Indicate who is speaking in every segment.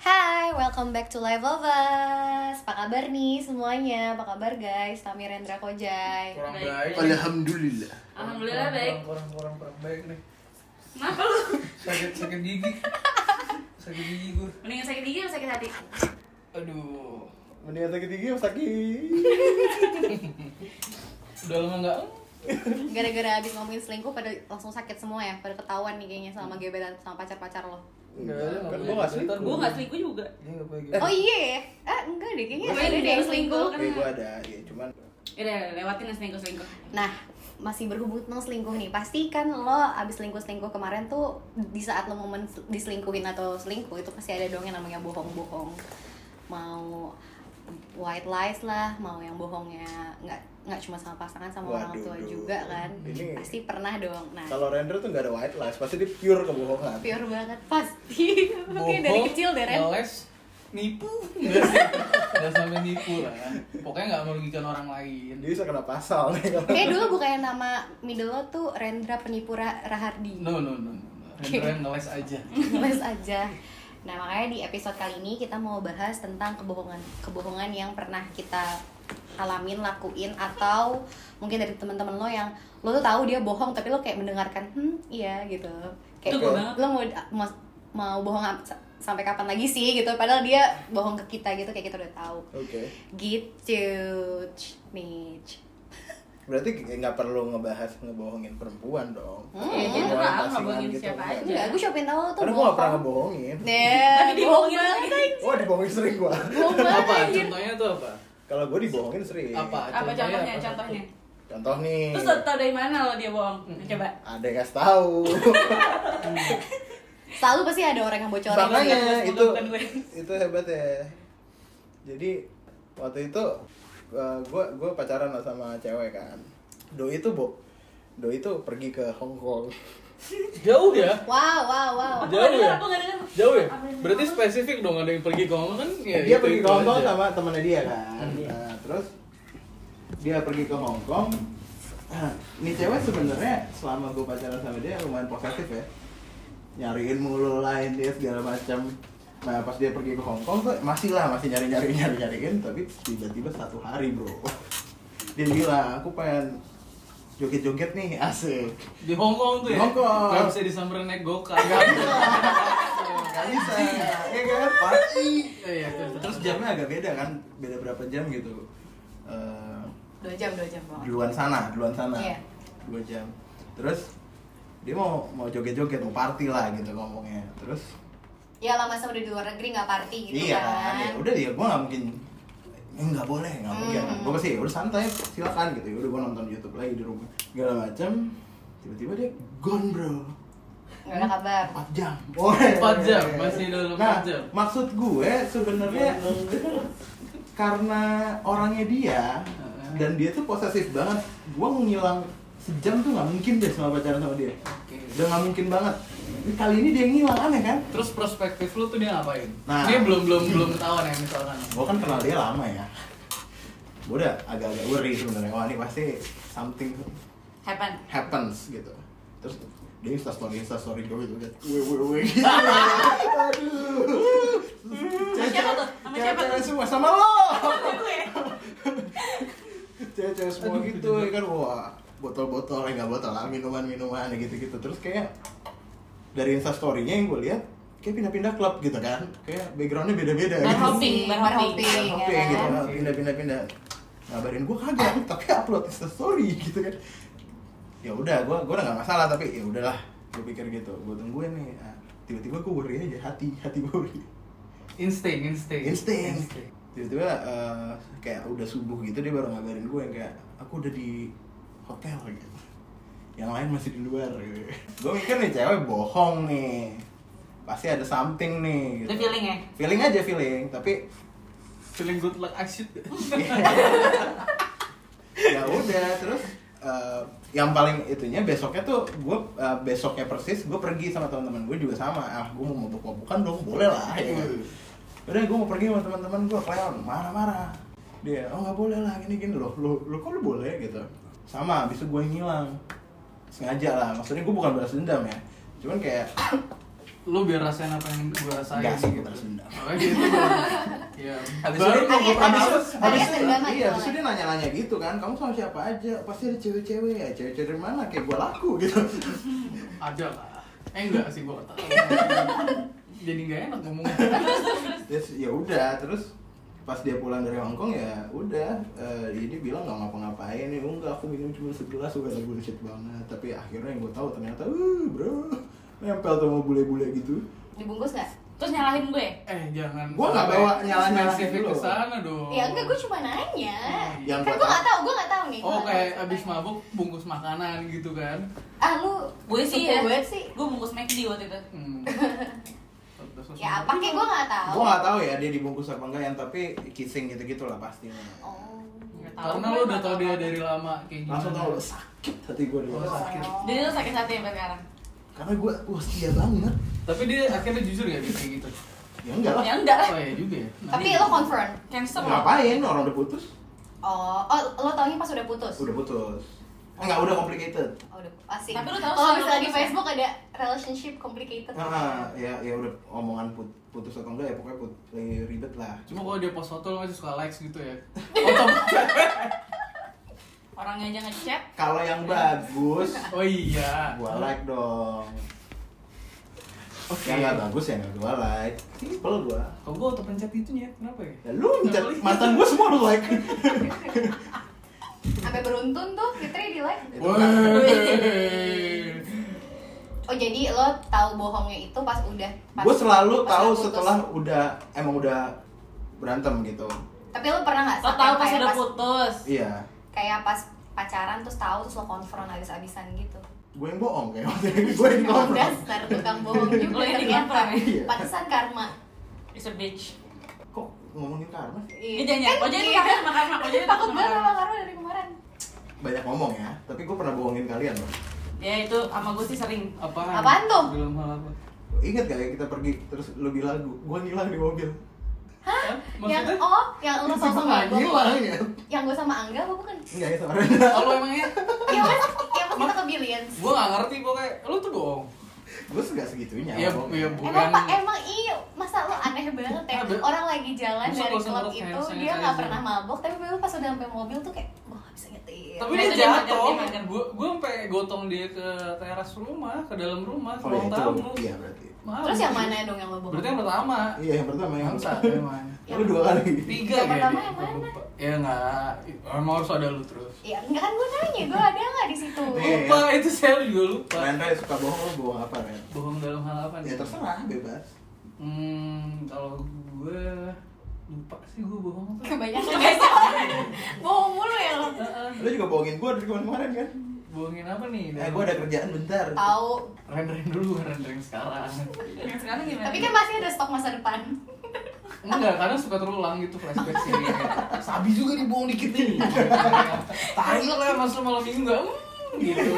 Speaker 1: Hai, welcome back to Live Lovers. Apa kabar nih semuanya? Apa kabar guys? Tami Rendra Kojai.
Speaker 2: kurang
Speaker 3: Baik.
Speaker 2: baik
Speaker 4: Alhamdulillah.
Speaker 3: Alhamdulillah
Speaker 2: Kurang-
Speaker 3: baik.
Speaker 2: kurang kurang kurang baik nih
Speaker 3: Kenapa lu?
Speaker 2: sakit sakit gigi sakit gigi gue
Speaker 3: Mendingan sakit gigi atau sakit hati?
Speaker 2: aduh
Speaker 5: Mendingan sakit gigi apa sakit?
Speaker 2: udah lama nggak
Speaker 1: Gara-gara abis ngomongin selingkuh pada langsung sakit semua ya? Pada ketahuan nih kayaknya sama gebetan sama pacar-pacar lo.
Speaker 2: Nggak ada, nggak
Speaker 5: Kan
Speaker 2: boleh.
Speaker 5: gua nggak
Speaker 2: Ntar
Speaker 5: selingkuh.
Speaker 3: Gue nggak selingkuh juga.
Speaker 2: Dia nggak boleh
Speaker 1: Oh
Speaker 2: gitu
Speaker 1: iya ya? Ah enggak deh, kayaknya
Speaker 3: Gue
Speaker 1: ada deh yang
Speaker 3: juga
Speaker 1: selingkuh.
Speaker 3: selingkuh.
Speaker 5: Eh gua ada, ya cuman
Speaker 3: Udah lewatin lah selingkuh selingkuh.
Speaker 1: Nah, masih berhubung tentang selingkuh nih. Pasti kan lo abis selingkuh-selingkuh kemarin tuh di saat lo momen diselingkuhin atau selingkuh itu pasti ada dong yang namanya bohong-bohong. Mau white lies lah, mau yang bohongnya nggak nggak cuma sama pasangan sama orang
Speaker 5: Waduh,
Speaker 1: tua
Speaker 5: duh.
Speaker 1: juga kan.
Speaker 5: Ini-
Speaker 1: Pasti pernah dong. Nah,
Speaker 5: kalau render tuh nggak ada white lies, pasti dia pure kebohongan.
Speaker 1: pure banget pasti. Oke, dari
Speaker 2: Bohong,
Speaker 1: kecil deh
Speaker 5: Oh.
Speaker 1: Ren.
Speaker 2: ngeles nipu nggak sih. nggak sampai nipu lah pokoknya nggak merugikan orang lain
Speaker 5: Dia bisa kena pasal ya kan? nih kalau
Speaker 1: Kayak dulu bukannya nama middle lo tuh Rendra Penipu Ra- Rahardi.
Speaker 2: no no no, no. Rendra yang ngeles aja
Speaker 1: Ngeles aja. Nah, makanya di episode kali ini kita mau bahas tentang kebohongan kebohongan yang pernah kita alamin, lakuin atau mungkin dari teman-teman lo yang lo tuh tahu dia bohong tapi lo kayak mendengarkan, "Hmm, iya" gitu. Kayak
Speaker 3: Itu gue banget.
Speaker 1: lo mau mau, mau bohong am- sa- sampai kapan lagi sih gitu padahal dia bohong ke kita gitu kayak kita udah tahu.
Speaker 5: Oke,
Speaker 1: Gitu. Ch- Nih. ch-
Speaker 5: berarti nggak perlu ngebahas ngebohongin perempuan dong.
Speaker 1: Hmm.
Speaker 3: Iya, jadi
Speaker 5: Ngebohongin
Speaker 3: nggak
Speaker 5: pasangan
Speaker 3: ngebohongin siapa
Speaker 5: nggak.
Speaker 3: aja.
Speaker 1: Enggak, gue siapa yang tahu lo tuh
Speaker 5: Iya. Karena gua nggak pernah
Speaker 1: bohong.
Speaker 5: ngebohongin.
Speaker 1: Nah,
Speaker 3: Tapi
Speaker 1: bohong
Speaker 3: dibohongin
Speaker 1: banget.
Speaker 3: Eh, lagi.
Speaker 5: Wah dibohongin sering gua.
Speaker 1: Bohong
Speaker 2: apa
Speaker 1: banget. anjir.
Speaker 2: contohnya tuh apa
Speaker 5: Kalau gua dibohongin sering.
Speaker 2: apa
Speaker 3: Apa contohnya? Contohnya.
Speaker 5: Contoh nih.
Speaker 3: Terus lo tau dari mana lo dia bohong?
Speaker 2: Hmm.
Speaker 3: Coba.
Speaker 5: Ada yang kasih tahu.
Speaker 1: Selalu pasti ada orang yang bocorin.
Speaker 3: Banganya.
Speaker 1: gitu.
Speaker 5: Makanya
Speaker 3: Bukan,
Speaker 5: itu
Speaker 3: bukan gue.
Speaker 5: itu hebat ya. Jadi waktu itu uh, gua gua pacaran lah sama cewek kan. Doi itu bo Doi itu pergi ke Hong Kong.
Speaker 2: jauh ya
Speaker 1: Wow, wow, wow.
Speaker 3: Aku
Speaker 2: Jauh
Speaker 3: nggak dengar,
Speaker 2: ya?
Speaker 3: aku nggak dengar.
Speaker 2: jauh ya
Speaker 3: Apa yang
Speaker 2: berarti
Speaker 3: mau?
Speaker 2: spesifik dong ada yang pergi ke Hong Kong kan ya
Speaker 5: dia
Speaker 2: itu-
Speaker 5: pergi
Speaker 2: itu
Speaker 5: ke Hong Kong
Speaker 2: aja. Hmm.
Speaker 5: sama temannya dia kan. Nah, terus dia pergi ke Hong Kong. Ini cewek sebenarnya selama gue pacaran sama dia lumayan posesif ya. Nyariin mulu lain dia segala macam. Nah pas dia pergi ke Hong Kong tuh masih lah masih nyari nyari nyari nyariin tapi tiba-tiba satu hari bro dia bilang aku pengen joget-joget nih asik
Speaker 2: di Hong Kong tuh ya
Speaker 5: Di Hong Kong.
Speaker 2: nggak bisa disamperin naik gokar
Speaker 5: Gak bisa, ya kan? Pasti.
Speaker 2: Iya, terus-
Speaker 5: Terus jamnya agak beda kan, beda berapa jam gitu. Eh,
Speaker 1: Dua jam, dua jam banget.
Speaker 5: duluan sana, duluan sana.
Speaker 1: Iya.
Speaker 5: Dua jam. Terus dia mau mau joget-joget, mau party lah gitu ngomongnya. Terus
Speaker 1: Ya lah masa udah di luar negeri nggak party gitu
Speaker 5: iya
Speaker 1: kan.
Speaker 5: ya udah dia gue nggak mungkin "Eh, nggak boleh nggak mungkin
Speaker 1: Hmm.
Speaker 5: gue pasti "Ya udah santai silakan gitu ya udah gue nonton YouTube lagi di rumah segala macam tiba-tiba dia gone bro
Speaker 1: Nggak ada kabar.
Speaker 5: 4 jam.
Speaker 2: Empat jam, masih dalam
Speaker 5: nah,
Speaker 2: empat jam.
Speaker 5: Maksud gue sebenarnya karena orangnya dia
Speaker 2: Heeh.
Speaker 5: dan dia tuh posesif banget. Gue mau ngilang sejam tuh nggak mungkin deh sama pacaran sama dia.
Speaker 2: Oke.
Speaker 5: Udah nggak mungkin banget. Kali ini dia ngilang aneh kan?
Speaker 2: Terus perspektif lu tuh dia ngapain?
Speaker 5: Nah.
Speaker 2: Ini belum belum belum ketahuan ya misalkan.
Speaker 5: Gue kan kenal dia lama ya. Gue udah agak-agak worry sebenarnya. Wah ini pasti something
Speaker 3: Happen.
Speaker 5: happens gitu. Terus dia instastory instastory gue gitu. Gue gue gue. Aduh.
Speaker 3: Sama siapa tuh? Sama siapa
Speaker 5: Cewek-cewek
Speaker 3: tuh?
Speaker 5: semua sama lo.
Speaker 3: Sama gue.
Speaker 5: Cewek-cewek semua gitu ya kan wah botol-botol ya nggak botol lah minuman-minuman ya gitu-gitu terus kayak dari instastorynya yang gue lihat kayak pindah-pindah klub gitu kan kayak backgroundnya beda-beda
Speaker 3: Bar
Speaker 5: gitu.
Speaker 3: hopping,
Speaker 1: Bar
Speaker 3: bar
Speaker 1: hopping.
Speaker 3: hopping.
Speaker 5: Bar hopping
Speaker 1: Nah, ya
Speaker 5: gitu
Speaker 1: kan?
Speaker 5: nah, pindah-pindah-pindah ngabarin gue kagak tapi upload instastory gitu kan ya udah gue gue udah nggak masalah tapi ya udahlah gue pikir gitu gue tungguin nih Nah, tiba-tiba gue worry aja hati hati gue worry
Speaker 2: Insting, insting.
Speaker 5: insting tiba-tiba eh, kayak udah subuh gitu dia baru ngabarin gue yang kayak aku udah di hotel gitu yang lain masih di luar gitu. gue mikir nih cewek bohong nih pasti ada something nih gitu.
Speaker 3: Itu feeling ya?
Speaker 5: feeling aja feeling tapi
Speaker 2: Feeling good luck action.
Speaker 5: ya udah terus eh, yang paling itunya besoknya tuh gue eh, besoknya persis gue pergi sama teman-teman gue juga sama ah gue mau mabuk-mabukan dong boleh lah ya kan? udah gue mau pergi sama teman-teman gue Cleon marah-marah dia oh nggak boleh lah gini gini loh lo lo kok lo boleh gitu sama abis itu gue ngilang sengaja lah maksudnya gue bukan balas dendam ya cuman kayak
Speaker 4: Ah,
Speaker 2: lu biar rasain apa yang gue rasain
Speaker 5: Nggak sih,
Speaker 2: gitu.
Speaker 5: balas dendam.
Speaker 2: Makanya gitu. Iya.
Speaker 4: Habis
Speaker 5: baru
Speaker 4: itu-
Speaker 5: mau gue
Speaker 1: Habis-
Speaker 5: habis
Speaker 1: habis
Speaker 5: habis
Speaker 1: itu
Speaker 5: itu
Speaker 1: dendam
Speaker 5: iya
Speaker 1: aja.
Speaker 5: habis itu dia nanya-nanya gitu kan kamu sama siapa aja pasti ada cewek-cewek ya cewek-cewek dari mana kayak gue laku gitu
Speaker 2: Ada lah. Eh enggak sih gue kata. Jadi nggak enak ngomongnya.
Speaker 5: terus ya udah terus pas dia pulang dari Hong Kong ya udah eh, ya dia bilang nggak ngapa-ngapain ya enggak aku minum cuma segelas gue ada bullshit banget tapi akhirnya yang gue tahu ternyata uh bro nempel tuh sama bule-bule gitu
Speaker 1: dibungkus nggak
Speaker 3: Terus nyalahin gue.
Speaker 2: Eh jangan.
Speaker 5: Gua nggak bawa gitu nyala-nyalahin
Speaker 2: spesifik
Speaker 5: lu.
Speaker 2: ke sana dong.
Speaker 1: ya enggak gue cuma nanya
Speaker 5: Yang
Speaker 1: kan
Speaker 5: gua
Speaker 1: gue
Speaker 5: tahu-
Speaker 1: nggak tahu gue nggak tahu nih
Speaker 2: Oh
Speaker 1: Gua nggak
Speaker 2: kayak
Speaker 1: tahu.
Speaker 2: abis mabuk bungkus makanan gitu kan.
Speaker 1: ah lu
Speaker 3: Gue sih
Speaker 1: suka
Speaker 3: ya.
Speaker 1: gue sih
Speaker 3: Gue bungkus McD waktu itu.
Speaker 2: Hmm.
Speaker 1: ya apa kayak gue nggak tahu
Speaker 5: gue nggak tahu ya dia dibungkus apa enggak yang tapi kissing gitu gitulah pastinya
Speaker 1: oh
Speaker 3: Nggak tahu,
Speaker 2: Karena
Speaker 3: gue
Speaker 2: lu udah
Speaker 3: nggak
Speaker 2: tau
Speaker 3: tahu.
Speaker 2: dia dari lama kayak gimana.
Speaker 5: langsung tahu sakit hati gue dulu
Speaker 2: Oh, sakit.
Speaker 3: Jadi lu sakit hati sampai sekarang.
Speaker 5: karena gue wah setia banget
Speaker 2: Tapi dia akhirnya jujur ya dia kayak gitu.
Speaker 5: ya enggak lah
Speaker 3: Ya enggak
Speaker 1: Eh?
Speaker 3: lah.
Speaker 2: Oh ya juga ya. Nah,
Speaker 1: tapi lo confront
Speaker 3: Cancel.
Speaker 5: ngapain orang udah putus
Speaker 1: oh oh lo taunya pas udah putus
Speaker 5: udah putus enggak udah complicated
Speaker 1: oh, udah asik
Speaker 3: Tapi lu tahu
Speaker 1: kalau
Speaker 3: sih lu
Speaker 1: misalnya di
Speaker 3: putus ya?
Speaker 1: Facebook ada relationship complicated
Speaker 5: Ah, ya ya udah omongan put- putus atau enggak ya pokoknya put, lagi ribet lah.
Speaker 2: Cuma kalau dia post foto lo masih suka likes gitu ya. Otom-
Speaker 3: Orangnya aja ngechat.
Speaker 5: Kalau yang
Speaker 1: Iya.
Speaker 5: bagus
Speaker 2: oh iya.
Speaker 5: gua like dong.
Speaker 2: Oke.
Speaker 5: Yang nggak bagus ya nggak gua like. Simple gua.
Speaker 2: Kok gua auto pencet itu nyet? Kenapa ya?
Speaker 5: Ya, lu
Speaker 2: Nggak
Speaker 5: mencet
Speaker 2: boleh.
Speaker 5: mantan gua semua lu like.
Speaker 1: sampai beruntun tuh Fitri di like
Speaker 5: Itu kan.
Speaker 2: Woi.
Speaker 1: oh jadi lo tahu bohongnya itu pas udah pas
Speaker 5: Gua selalu
Speaker 1: pas
Speaker 5: tahu
Speaker 1: udah putus.
Speaker 5: setelah udah emang udah berantem gitu.
Speaker 1: tapi lo pernah nggak
Speaker 3: Lo
Speaker 1: sampai
Speaker 3: tahu pas
Speaker 1: kayak
Speaker 3: udah putus.
Speaker 5: Iya.
Speaker 1: kayak pas pacaran terus tahu terus lo konfront abis-abisan gitu
Speaker 5: Gue yang bohong kayak waktu itu. gue yang
Speaker 1: Emang
Speaker 5: ngomong.
Speaker 1: dasar tukang bohong juga
Speaker 3: Lo yang
Speaker 1: ternyata
Speaker 3: dikonfront
Speaker 5: ya?
Speaker 1: pantesan karma
Speaker 3: It's a bitch.
Speaker 5: Kok ngomongin karma? sih?
Speaker 3: Ini jangan. Oh jadi
Speaker 1: iya.
Speaker 3: takut sama karma. Oh jadi
Speaker 1: takut
Speaker 3: sama
Speaker 1: banget
Speaker 3: karma.
Speaker 1: sama karma dari kemarin
Speaker 5: Banyak ngomong ya, tapi gue pernah bohongin kalian loh.
Speaker 3: Ya itu sama gue sih sering.
Speaker 2: Apaan?
Speaker 1: Apaan tuh?
Speaker 2: Belum hal apa.
Speaker 5: Ingat gak ya kita pergi terus lu bilang gue ngilang di mobil.
Speaker 2: Hah?
Speaker 1: yang
Speaker 2: Maksudnya?
Speaker 1: oh yang lo
Speaker 5: Gua
Speaker 1: sosok
Speaker 5: nggak ngilang ya.
Speaker 1: yang gue sama Angga apa bukan
Speaker 5: Enggak ya sama Rena.
Speaker 2: Oh, lu emangnya?
Speaker 1: ya pas ya pas kita ke Billions
Speaker 2: Gua gak ngerti pokoknya. Lu tuh bohong.
Speaker 5: Gue suka segitunya.
Speaker 2: Iya,
Speaker 5: ngomong.
Speaker 2: iya, Bu.
Speaker 1: Emang
Speaker 2: Bukan-
Speaker 1: pak emang iya masa lo aneh banget ya
Speaker 2: Ah, be-
Speaker 1: orang lagi jalan
Speaker 2: Masa
Speaker 1: dari
Speaker 2: lo sama
Speaker 1: klub
Speaker 2: lo
Speaker 1: itu dia
Speaker 2: kayak
Speaker 1: nggak
Speaker 2: sanitizer?
Speaker 1: pernah mabok tapi baru pas udah sampai mobil tuh kayak gue nggak bisa nyetir
Speaker 2: Tapi
Speaker 3: Nah,
Speaker 2: dia
Speaker 3: itu dia mager,
Speaker 2: jatuh.
Speaker 3: dia mager.
Speaker 2: Gua gua sampai gotong dia ke teras rumah, ke dalam rumah, ke
Speaker 5: Oh, ya
Speaker 2: ruang
Speaker 5: itu.
Speaker 2: tamu.
Speaker 5: Iya berarti.
Speaker 2: Maaf.
Speaker 1: terus yang mana dong yang lo bohong
Speaker 2: Berarti yang pertama.
Speaker 5: Iya yang pertama yang
Speaker 2: Bangsa, emang.
Speaker 5: Lu dua kali.
Speaker 2: Tiga
Speaker 1: Yang pertama
Speaker 2: kayaknya.
Speaker 1: yang mana?
Speaker 2: Lupa. Ya enggak. Emang harus ada lu terus.
Speaker 1: ya enggak kan gue nanya gue ada nggak di situ
Speaker 5: Iya.
Speaker 2: Lupa, itu saya juga lupa.
Speaker 5: Ren Ren suka bohong lu bohong apa Ren?
Speaker 2: Bohong dalam hal apa nih?
Speaker 5: Ya terserah bebas.
Speaker 2: Hmm, kalau gue lupa sih gue bohong apa.
Speaker 1: kebanyakan bohong mulu ya lo
Speaker 2: Heeh.
Speaker 5: Lu juga bohongin gue dari kemarin kan?
Speaker 2: Bohongin apa nih?
Speaker 5: Eh gue ada kerjaan bentar.
Speaker 1: tahu
Speaker 2: rendering dulu, rendering sekarang.
Speaker 3: Yang sekarang gimana?
Speaker 1: tapi kan masih ada stok masa depan
Speaker 2: Enggak, kadang suka terulang gitu flashback sih. Sabi juga dibohong dikit nih. Tahu lah masa malam minggu enggak hmm, gitu.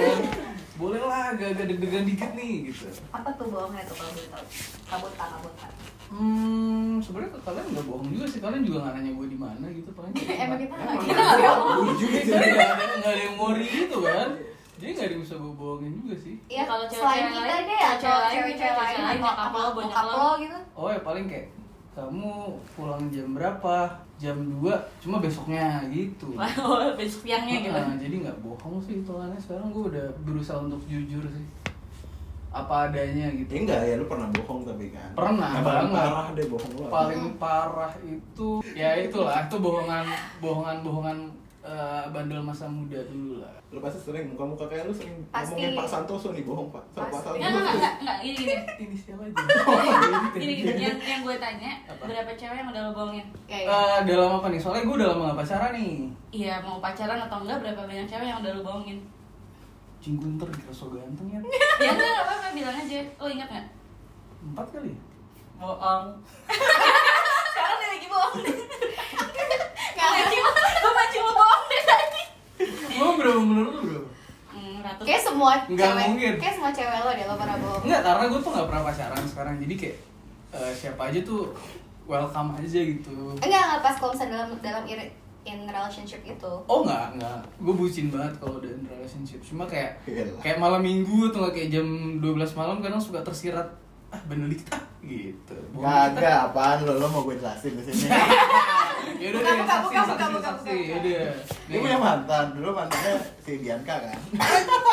Speaker 2: Boleh lah agak-agak deg-degan dikit nih gitu.
Speaker 1: apa tuh bohongnya tuh kalau gue tahu kabutan kabutan
Speaker 2: Hmm, sebenarnya ke kalian nggak bohong juga sih. Kalian juga nggak nanya gue di mana gitu paling.
Speaker 1: emang kita nggak
Speaker 5: Emang.
Speaker 1: kita nggak bohong
Speaker 2: Jujur gitu. Nggak ada nggak ada yang worry gitu kan. Jadi nggak ada yang bisa gue bohongin juga sih.
Speaker 1: ya
Speaker 3: Kalau
Speaker 1: kalau
Speaker 3: cewek-cewek
Speaker 1: selain kita
Speaker 3: lain,
Speaker 1: deh atau
Speaker 3: cewek-cewek lain,
Speaker 1: cewek-cewek lain
Speaker 3: cewek-cewek lain,
Speaker 1: atau
Speaker 3: nyokap lo,
Speaker 1: apa
Speaker 3: bonyok
Speaker 1: bokap
Speaker 3: lo.
Speaker 1: lo gitu
Speaker 2: Oh ya paling kayak kamu pulang jam berapa? Jam 2, cuma besoknya gitu.
Speaker 3: Wah, besok siangnya gitu.
Speaker 2: Nah, jadi nggak bohong sih hitungannya sekarang gue udah berusaha untuk jujur sih. Apa adanya
Speaker 5: Ya
Speaker 2: gitu.
Speaker 5: enggak ya lu pernah bohong tapi kan.
Speaker 2: Pernah,
Speaker 5: Yang paling
Speaker 2: banget.
Speaker 5: parah deh bohong lu. apa?
Speaker 2: Paling parah itu ya itulah itu bohongan bohongan bohongan eh, bandel masa muda dulu lah.
Speaker 5: Lu pasti sering muka-muka kayak lu sering
Speaker 1: Pasti.
Speaker 5: ngomongin Pak Santoso nih bohong Pak. Sama Pak
Speaker 1: Pasti.
Speaker 5: Santoso.
Speaker 3: Enggak, enggak, enggak, enggak, gini, gini
Speaker 2: Ini siapa aja? Oh, iya,
Speaker 3: Gini, gini, yang, yang gue tanya,
Speaker 2: Apa?
Speaker 3: berapa cewek yang udah lo bohongin?
Speaker 1: ya, ya.
Speaker 2: Eh, udah lama apa nih? Soalnya gue udah lama gak pacaran nih.
Speaker 3: Iya, mau pacaran atau enggak, berapa banyak cewek yang udah lo bohongin?
Speaker 2: Cinggu ntar dikira so ganteng ya.
Speaker 1: gitu.
Speaker 3: Ya enggak, enggak apa-apa, bilang aja, lo ingat enggak?
Speaker 2: Empat kali ya?
Speaker 3: Bohong Sekarang dia lagi bohong
Speaker 1: Nggak,
Speaker 3: Gue masih mau bohong deh tadi
Speaker 2: Gue berapa yang bener lu berapa?
Speaker 3: Hmm, ratus.
Speaker 1: Kayak semua
Speaker 2: Nggak
Speaker 1: cewek,
Speaker 2: mungkin.
Speaker 1: kayak semua cewek lo deh lo pernah bohong.
Speaker 2: Enggak, karena gue tuh gak pernah pacaran sekarang Jadi kayak eh, siapa aja tuh welcome aja gitu
Speaker 1: Enggak, enggak pas kalau misalnya dalam dalam ir- in relationship gitu. itu.
Speaker 2: Oh enggak, enggak. Gue bucin banget kalau udah in relationship. Cuma kayak
Speaker 5: Yalah.
Speaker 2: kayak malam minggu atau enggak kayak jam 12 malam kadang suka tersirat ah bener dikit ah gitu.
Speaker 5: Kagak apaan lo, lo mau gue jelasin di sini.
Speaker 2: Ya
Speaker 3: Buka, buka, buka, buka, buka, buka.
Speaker 5: Gue punya mantan, dulu mantannya si Bianca kan.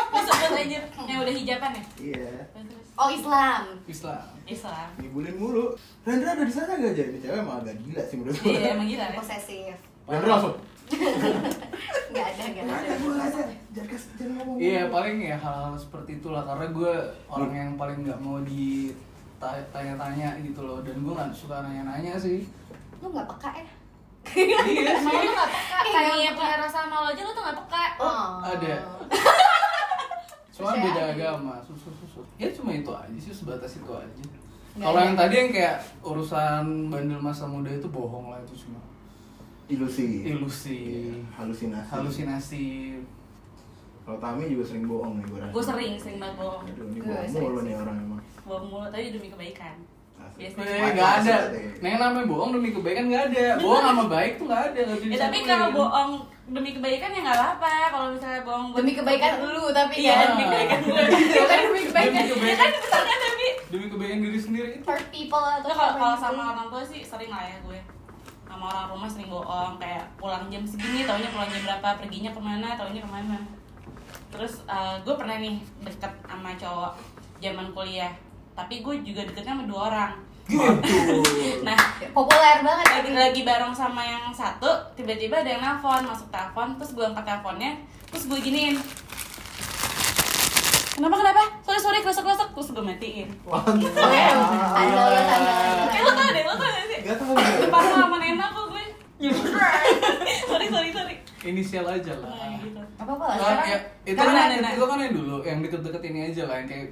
Speaker 3: Lu sebut aja yang udah hijaban ya?
Speaker 5: Iya.
Speaker 3: Terus
Speaker 1: Oh, Islam.
Speaker 2: Islam.
Speaker 3: Islam.
Speaker 5: Dibulin mulu. Rendra ada di sana gak jadi cewek emang agak gila sih menurut gue.
Speaker 3: Iya, emang gila ya?
Speaker 1: Posesif.
Speaker 5: Rendra langsung.
Speaker 1: Enggak ada, enggak ada.
Speaker 5: Ada gue aja. Jangan kas- jangan ngomong.
Speaker 2: Iya paling ya hal-hal seperti itulah karena gue orang yang paling nggak mau ditanya-tanya gitu loh dan gue nggak suka nanya-nanya sih.
Speaker 1: Lu enggak peka ya?
Speaker 2: Iya
Speaker 3: Emang
Speaker 2: sih.
Speaker 3: lu gak peka?
Speaker 1: Iya,
Speaker 3: Kayak
Speaker 1: iya,
Speaker 3: yang punya rasa malu aja lu tuh gak peka
Speaker 1: Oh.
Speaker 2: ada. Cuma
Speaker 3: ya?
Speaker 1: Percaya
Speaker 2: beda
Speaker 1: aja.
Speaker 2: agama, susu susu. Ya cuma itu aja sih sebatas itu aja.
Speaker 1: Nggak
Speaker 2: Kalau
Speaker 3: ya?
Speaker 1: ada.
Speaker 2: yang tadi yang kayak urusan bandel masa muda itu bohong lah itu cuma
Speaker 5: Ilusi.
Speaker 2: ilusi,
Speaker 5: Iya, Halusinasi.
Speaker 2: halusinasi.
Speaker 5: Kalau Tami juga sering bohong nih gue rasa.
Speaker 3: Gue sering, sering banget bohong
Speaker 5: Aduh, ini
Speaker 1: Gue
Speaker 5: bohong
Speaker 1: sering
Speaker 5: mulu
Speaker 1: sih.
Speaker 5: nih orang emang.
Speaker 3: Bohong mulu, tapi demi kebaikan
Speaker 5: Asik.
Speaker 3: Biasanya
Speaker 2: Eh
Speaker 5: Mata
Speaker 2: nggak ada.
Speaker 5: asli.
Speaker 2: Nah yang namanya bohong demi kebaikan nggak ada. Bohong sama baik tuh nggak ada. nggak bisa
Speaker 3: Ya tapi
Speaker 2: disatuin.
Speaker 3: kalau bohong demi kebaikan ya nggak apa-apa. Kalau misalnya bohong buat-
Speaker 1: Demi kebaikan lu tapi
Speaker 3: Iya,
Speaker 1: kan
Speaker 3: demi kebaikan gue.
Speaker 1: bukan demi kebaikan
Speaker 2: Demi
Speaker 3: Ya kan
Speaker 2: kebaikan,
Speaker 3: misalnya tapi
Speaker 2: demi kebaikan diri sendiri itu.
Speaker 1: hurt people atau
Speaker 3: Terus Nah, kalau
Speaker 1: apa
Speaker 3: kalau
Speaker 1: gitu.
Speaker 3: sama orang tua sih sering lah ya gue sama orang rumah sering bohong kayak pulang jam segini taunya pulang jam berapa perginya kemana taunya kemana terus eh, gue pernah nih deket sama cowok zaman kuliah tapi gue juga deketnya sama dua orang
Speaker 2: Gitu.
Speaker 3: nah
Speaker 1: populer banget
Speaker 3: lagi lagi bareng sama yang satu tiba-tiba ada yang nelfon masuk telepon terus gue angkat teleponnya terus gue giniin kenapa kenapa sorry sorry kerusuk kerusuk terus gue matiin
Speaker 1: Iya.
Speaker 5: Mantap.
Speaker 1: Andal ya, andal
Speaker 3: eh lo tau deh lo tau deh sih
Speaker 5: Gak tau deh.
Speaker 3: Dipaksa sama Nena kok gue Sorry, sorry, sorry
Speaker 2: Inisial aja lah.
Speaker 3: Nah, gitu.
Speaker 1: Apa apa lah.
Speaker 2: Nah, ya, itu kan
Speaker 3: Karena-
Speaker 2: yang, itu kan yang dulu, yang deket-deket ini aja lah, yang kayak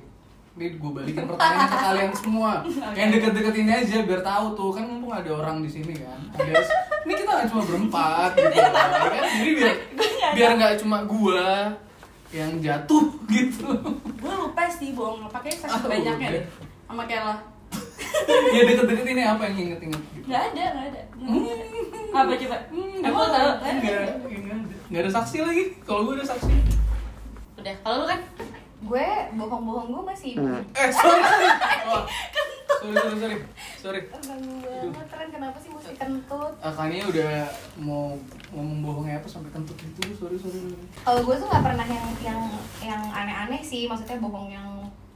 Speaker 2: ini gue balikin pertanyaan ke kalian semua. Yang deket-deket ini aja biar tahu tuh, kan mumpung ada orang di sini kan. Ada, ini kita nggak cuma berempat, gitu, kan? Jadi biar biar nggak cuma gua yang jatuh gitu.
Speaker 3: Gue lupa sih bohong apa kayak
Speaker 2: Ah,
Speaker 3: saking banyaknya
Speaker 2: udah.
Speaker 3: deh Sama kayak lo
Speaker 2: ya deket-deket ini apa yang inget-inget gitu?
Speaker 3: Gak ada, gak ada Apa coba? Aku tau kan?
Speaker 2: Enggak, enggak ada. Nggak ada saksi lagi. Kalau gua ada saksi.
Speaker 3: Udah, kalau lu kan?
Speaker 1: Gue bohong-bohong gue masih
Speaker 3: Iya.
Speaker 2: Eh, sorry. sorry. Wah. Sorry, sorry, sorry. Sorry.
Speaker 1: Ganggu banget, Ren. Kenapa sih mesti kentut?
Speaker 2: Akannya Eh, udah mau ngomong bohongnya apa sampai kentut gitu, sorry sorry.
Speaker 1: Kalau gue tuh nggak pernah yang yang yang aneh-aneh sih, maksudnya bohong yang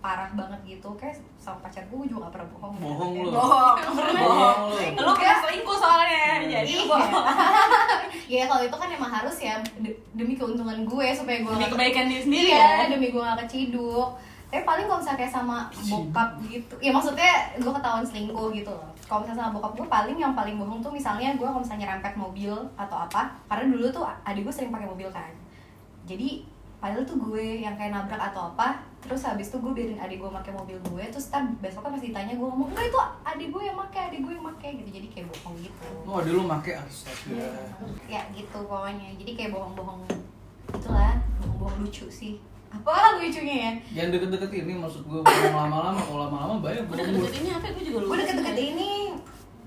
Speaker 1: parah banget gitu. Kayak sama pacar gue, gue juga nggak pernah bohong.
Speaker 2: Bohong lu.
Speaker 1: Bohong.
Speaker 2: Bohong lu.
Speaker 3: Lu pernah selingkuh soalnya Jadi lu bohong
Speaker 1: Ya kalau itu kan emang harus ya de- demi keuntungan gue supaya gue
Speaker 3: Demi
Speaker 1: nggak-
Speaker 3: kebaikan diri sendiri
Speaker 1: Iya,
Speaker 3: kan?
Speaker 1: demi gue gak keciduk tapi paling kalau misalnya kayak sama
Speaker 2: Keciduk.
Speaker 1: bokap gitu ya maksudnya gue ketahuan selingkuh gitu loh kalau misalnya sama bokap gue paling yang paling bohong tuh misalnya gue kalau misalnya rempet mobil atau apa karena dulu tuh adik gue sering pakai mobil kan jadi padahal tuh gue yang kayak nabrak atau apa terus habis itu gue biarin adik gue pakai mobil gue terus ntar besoknya pas ditanya gue ngomong enggak itu adik gue yang pakai adik gue yang pakai gitu jadi kayak bohong gitu
Speaker 2: Oh, ada lu make astaga.
Speaker 1: ya gitu pokoknya jadi kayak bohong-bohong itulah bohong-bohong lucu sih apa lucunya ya
Speaker 2: Jangan deket-deket ini maksud gua bohong lama-lama, kalau lama-lama banyak
Speaker 3: Udah
Speaker 2: bohong.
Speaker 3: deket ini apa? Gue juga lupa
Speaker 1: gue deket-deket ini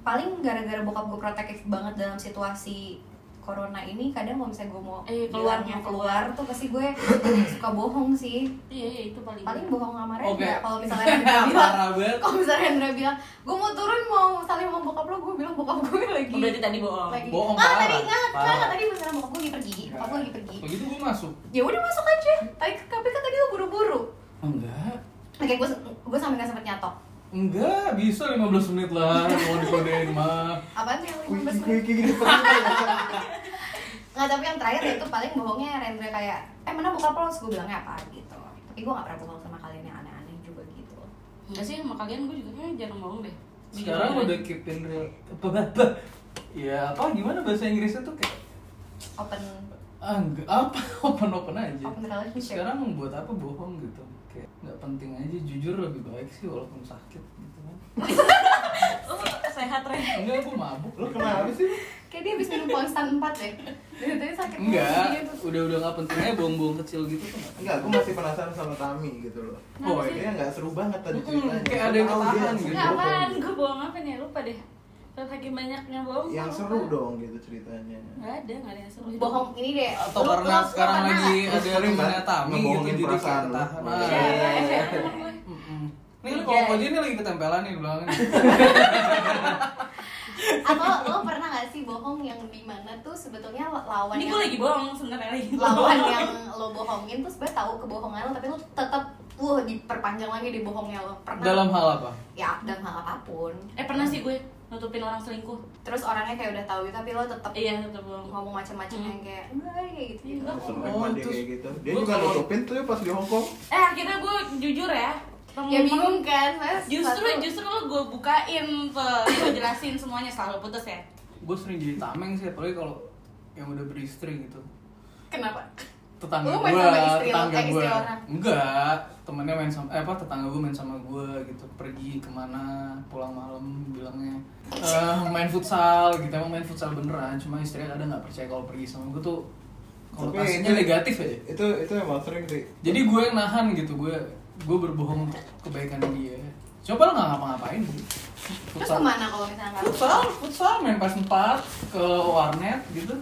Speaker 1: paling gara-gara bokap gue protektif banget dalam situasi corona ini kadang kalau misalnya gue mau
Speaker 3: Eh,
Speaker 1: bilang
Speaker 3: keluarnya.
Speaker 1: mau keluar tuh pasti gue suka bohong sih
Speaker 3: Iya, iya itu paling
Speaker 1: paling bohong sama Rendra
Speaker 2: Oke.
Speaker 1: kalau misalnya Rendra bilang
Speaker 2: Parah banget.
Speaker 1: kalau misalnya Rendra bilang gue mau turun mau saling mau bokap lo gue bilang bokap gue lagi
Speaker 3: Oh, Berarti tadi bohong
Speaker 1: lagi
Speaker 2: Bohong,
Speaker 1: nggak
Speaker 2: parah.
Speaker 1: tadi nggak
Speaker 2: Parah.
Speaker 1: nggak tadi misalnya bokap gue lagi pergi bokap gue lagi pergi
Speaker 2: Begitu gitu gua masuk.
Speaker 1: ya udah masuk aja tapi tapi kan tadi lo buru-buru
Speaker 2: Enggak.
Speaker 1: oke gue gue sampai nggak sempet nyatok
Speaker 2: Enggak, bisa 15 menit lah kalau dikodein mah.
Speaker 1: apaan tuh yang
Speaker 5: Kuiki
Speaker 1: 15 menit?
Speaker 5: kuiki gitu. Pertanyaan.
Speaker 1: Nggak, tapi yang terakhir itu paling bohongnya Rendra kayak, eh mana buka lo? Terus gue bilangnya apa gitu. Tapi gue gak pernah bohong sama kalian yang aneh-aneh juga gitu.
Speaker 3: Enggak sih sama kalian gue juga kayaknya jarang bohong deh
Speaker 2: Sekarang udah keep in real. Apa apa? Ya apa gimana bahasa Inggrisnya tuh kayak
Speaker 1: Open,
Speaker 2: ah, enggak apa open open aja.
Speaker 1: open relationship.
Speaker 2: sekarang membuat apa bohong gitu kayak nggak penting aja jujur lebih baik sih walaupun sakit gitu kan
Speaker 3: Oh, saya sehat Ren
Speaker 2: Enggak, aku mabuk.
Speaker 5: Lu kenapa sih?
Speaker 1: Kayak dia habis minum ponstan 4 deh. ya. Dari tadi sakit perut
Speaker 2: Enggak,
Speaker 1: dia tuh.
Speaker 2: udah udah nggak pentingnya buang-buang kecil gitu tuh. nggak.
Speaker 5: Enggak, gue masih penasaran sama Tami gitu loh.
Speaker 3: Kenapa
Speaker 5: Oh,
Speaker 3: sih?
Speaker 5: kayaknya nggak seru banget tadi
Speaker 2: Mm-mm,
Speaker 5: ceritanya.
Speaker 2: kayak
Speaker 5: Gua
Speaker 2: ada yang
Speaker 5: tahu dia
Speaker 2: ketahan
Speaker 5: seru
Speaker 2: gitu.
Speaker 3: Nggak,
Speaker 5: bohong.
Speaker 3: apaan gue bohong apa nih lupa deh terus lagi banyaknya bohong
Speaker 5: Yang
Speaker 3: gua
Speaker 5: seru
Speaker 3: lupa.
Speaker 5: dong gitu ceritanya.
Speaker 3: nggak ada nggak ada yang seru
Speaker 1: Bohong ini deh.
Speaker 2: Atau
Speaker 1: Lu-
Speaker 2: karena
Speaker 1: lu- lu
Speaker 2: sekarang
Speaker 1: pernah
Speaker 2: lagi
Speaker 1: nggak?
Speaker 2: ada
Speaker 5: Sering
Speaker 2: rumahnya
Speaker 5: banget
Speaker 2: Tami gitu
Speaker 5: ngebohongin
Speaker 2: jadi kayak
Speaker 5: perasaan lu.
Speaker 2: ketahan.
Speaker 5: Iya,
Speaker 2: Ah,
Speaker 3: Iya, iya, iya.
Speaker 2: Mm-mm. Ini lu
Speaker 1: Iya.
Speaker 2: kalau aja ini lagi ketempelan nih di belakang.
Speaker 1: Atau lo pernah gak sih bohong yang dimana tuh sebetulnya lawan
Speaker 3: ini
Speaker 1: yang
Speaker 3: gue lagi bohong sebenarnya lagi
Speaker 1: lawan yang lo bohongin tuh sebenarnya tahu kebohongan lo tapi lo tetap lo diperpanjang lagi di bohongnya lo pernah
Speaker 2: Dalam hal apa?
Speaker 1: ya dalam hal apapun
Speaker 3: eh pernah sih gue nutupin orang selingkuh
Speaker 1: terus orangnya kayak udah tahu gitu tapi lo tetap
Speaker 3: iya tetap bohong Hmm. Iya,
Speaker 1: ngomong macam-macam yang kayak enggak kayak gitu gitu
Speaker 3: Enggak.
Speaker 5: Seru
Speaker 2: Oh,
Speaker 5: banget dia
Speaker 2: terus
Speaker 5: kayak gitu. Dia
Speaker 2: gua
Speaker 5: juga
Speaker 2: kalau-
Speaker 5: nutupin tuh pas di Hongkong.
Speaker 3: eh akhirnya gue jujur ya
Speaker 1: ya bingung kan mas
Speaker 3: justru
Speaker 1: Satu-
Speaker 3: justru lo gue bukain tuh gue jelasin semuanya selalu putus ya
Speaker 2: Gue sering jadi tameng sih, apalagi kalau yang udah beristri gitu.
Speaker 1: kenapa
Speaker 2: tetangga
Speaker 1: Lu
Speaker 2: gue,
Speaker 1: main sama istri lu,
Speaker 2: tetangga
Speaker 1: eh, istri
Speaker 2: gue,
Speaker 1: orang?
Speaker 2: enggak, temennya main sama, eh, apa tetangga gue main sama gue gitu, pergi kemana, pulang malam, bilangnya eh main futsal gitu, emang main futsal beneran, cuma istrinya kadang nggak percaya kalau pergi sama gue tuh konotasinya negatif aja. Ya.
Speaker 5: Itu itu emang sering sih.
Speaker 2: Jadi gue yang nahan gitu, gue gue berbohong untuk kebaikan dia. Coba lo nggak ngapa-ngapain gitu.
Speaker 1: terus kemana kalau misalnya nggak
Speaker 2: Futsal, futsal main pas empat ke warnet gitu.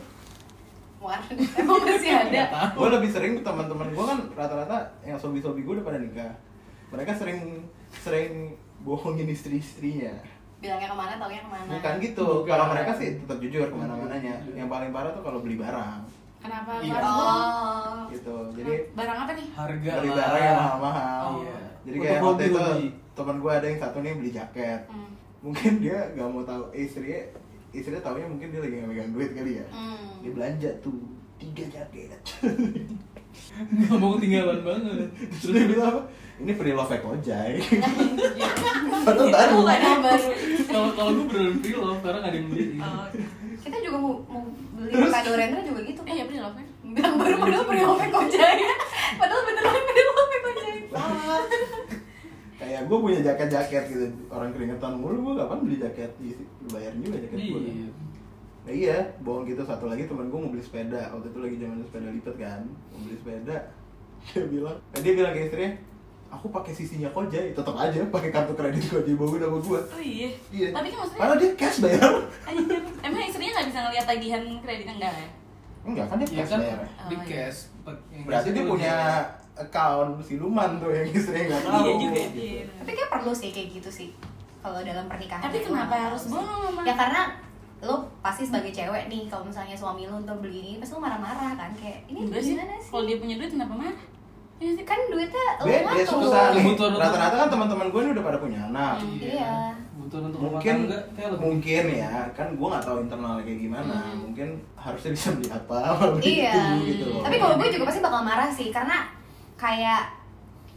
Speaker 1: keluar emang masih ada
Speaker 2: Nggak tahu.
Speaker 5: Gue lebih sering ke teman-teman gue kan rata-rata yang sobi-sobi gue udah pada nikah. Mereka sering sering bohongin istri-istrinya.
Speaker 1: bilangnya kemana taunya kemana
Speaker 5: Bukan gitu.
Speaker 2: Bukan.
Speaker 5: Kalau mereka sih tetap jujur kemana-mananya.
Speaker 2: Jujur.
Speaker 5: Yang paling parah tuh kalau beli barang
Speaker 3: kenapa
Speaker 2: Iya.
Speaker 3: Barang bohong?
Speaker 1: oh
Speaker 5: gitu. Jadi
Speaker 3: barang apa nih
Speaker 2: Harga
Speaker 5: beli
Speaker 2: lah.
Speaker 5: barang yang mahal-mahal.
Speaker 2: Iya.
Speaker 5: Jadi
Speaker 2: Untuk
Speaker 5: kayak waktu itu
Speaker 2: hobi-hobi.
Speaker 5: teman gue ada yang satu nih beli jaket.
Speaker 3: Hmm.
Speaker 5: Mungkin dia gak mau tahu eh, istrinya istrinya taunya mungkin dia lagi nggak megang duit kali ya.
Speaker 1: Hmm.
Speaker 5: Dia belanja tuh tiga jaket.
Speaker 2: Nggak mau ketinggalan banget.
Speaker 5: Terus dia bilang apa? Ini free love ojai.
Speaker 1: Itu
Speaker 5: Padahal baru.
Speaker 1: bukan yang baru
Speaker 2: kalau kalau gue beneran free love karena nggak ada yang beli
Speaker 3: Oh, oke.
Speaker 1: kita juga mau, mau beli kado Rendra juga gitu
Speaker 3: eh ya beli love ya
Speaker 1: bilang baru padahal beli home kojaya padahal beneran beli home kojaya
Speaker 5: Salah. kayak gue punya jaket-jaket gitu orang keringetan mulu gue kapan beli jaket Iya sih, lu bayarin juga jaket gue
Speaker 2: iya
Speaker 5: nah, iya bohong gitu satu lagi teman gue mau beli sepeda waktu itu lagi zaman sepeda lipat kan mau beli sepeda dia bilang nah, dia bilang ke istrinya aku pakai sisinya kojai tetap aja pakai kartu kredit kojai bawa nama gue
Speaker 3: oh iya
Speaker 5: iya
Speaker 3: tapi kan maksudnya
Speaker 5: padahal dia cash bayar
Speaker 3: Anjir. Emang istrinya nggak bisa ngeliat tagihan kredit enggak ya?
Speaker 5: enggak kan dia
Speaker 2: Iya
Speaker 5: cash
Speaker 2: kan
Speaker 5: bayar
Speaker 2: di
Speaker 3: Oh, iya.
Speaker 2: cash Pak- yang cash
Speaker 5: berarti dia
Speaker 2: itu
Speaker 5: punya
Speaker 2: dia-
Speaker 5: account siluman tuh yang istrinya nggak tahu
Speaker 3: Iya juga.
Speaker 5: gitu.
Speaker 3: Iya.
Speaker 1: tapi kayak perlu sih kayak gitu sih kalau dalam pernikahan ya.
Speaker 3: Tapi
Speaker 1: Gua
Speaker 3: kenapa
Speaker 1: nggak
Speaker 3: harus
Speaker 1: tahu sih.
Speaker 3: bohong sama?
Speaker 1: ya karena lo pasti sebagai cewek nih kalau misalnya suami lo untuk beli ini pasti lo marah-marah kan kayak ini
Speaker 3: Enggak sih.
Speaker 1: gimana sih
Speaker 3: Kalau dia punya duit kenapa marah? Iya sih.
Speaker 1: kan duitnya lo
Speaker 5: Dia, dia
Speaker 1: ngatur
Speaker 5: susah nih.
Speaker 2: Kebutuhan untuk-
Speaker 5: Rata-rata kan teman-teman gue ini udah pada punya anak.
Speaker 2: Hmm,
Speaker 1: Iya.
Speaker 2: butuh untuk
Speaker 5: mungkin
Speaker 2: rumah tangga kan kayak lebih
Speaker 5: mungkin ya kan gue nggak tahu internal kayak gimana
Speaker 3: Hmm.
Speaker 5: mungkin harusnya bisa beli apa apa beli
Speaker 1: Iya.
Speaker 5: itu gitu loh
Speaker 1: Tapi kalau gue juga pasti bakal marah sih karena kayak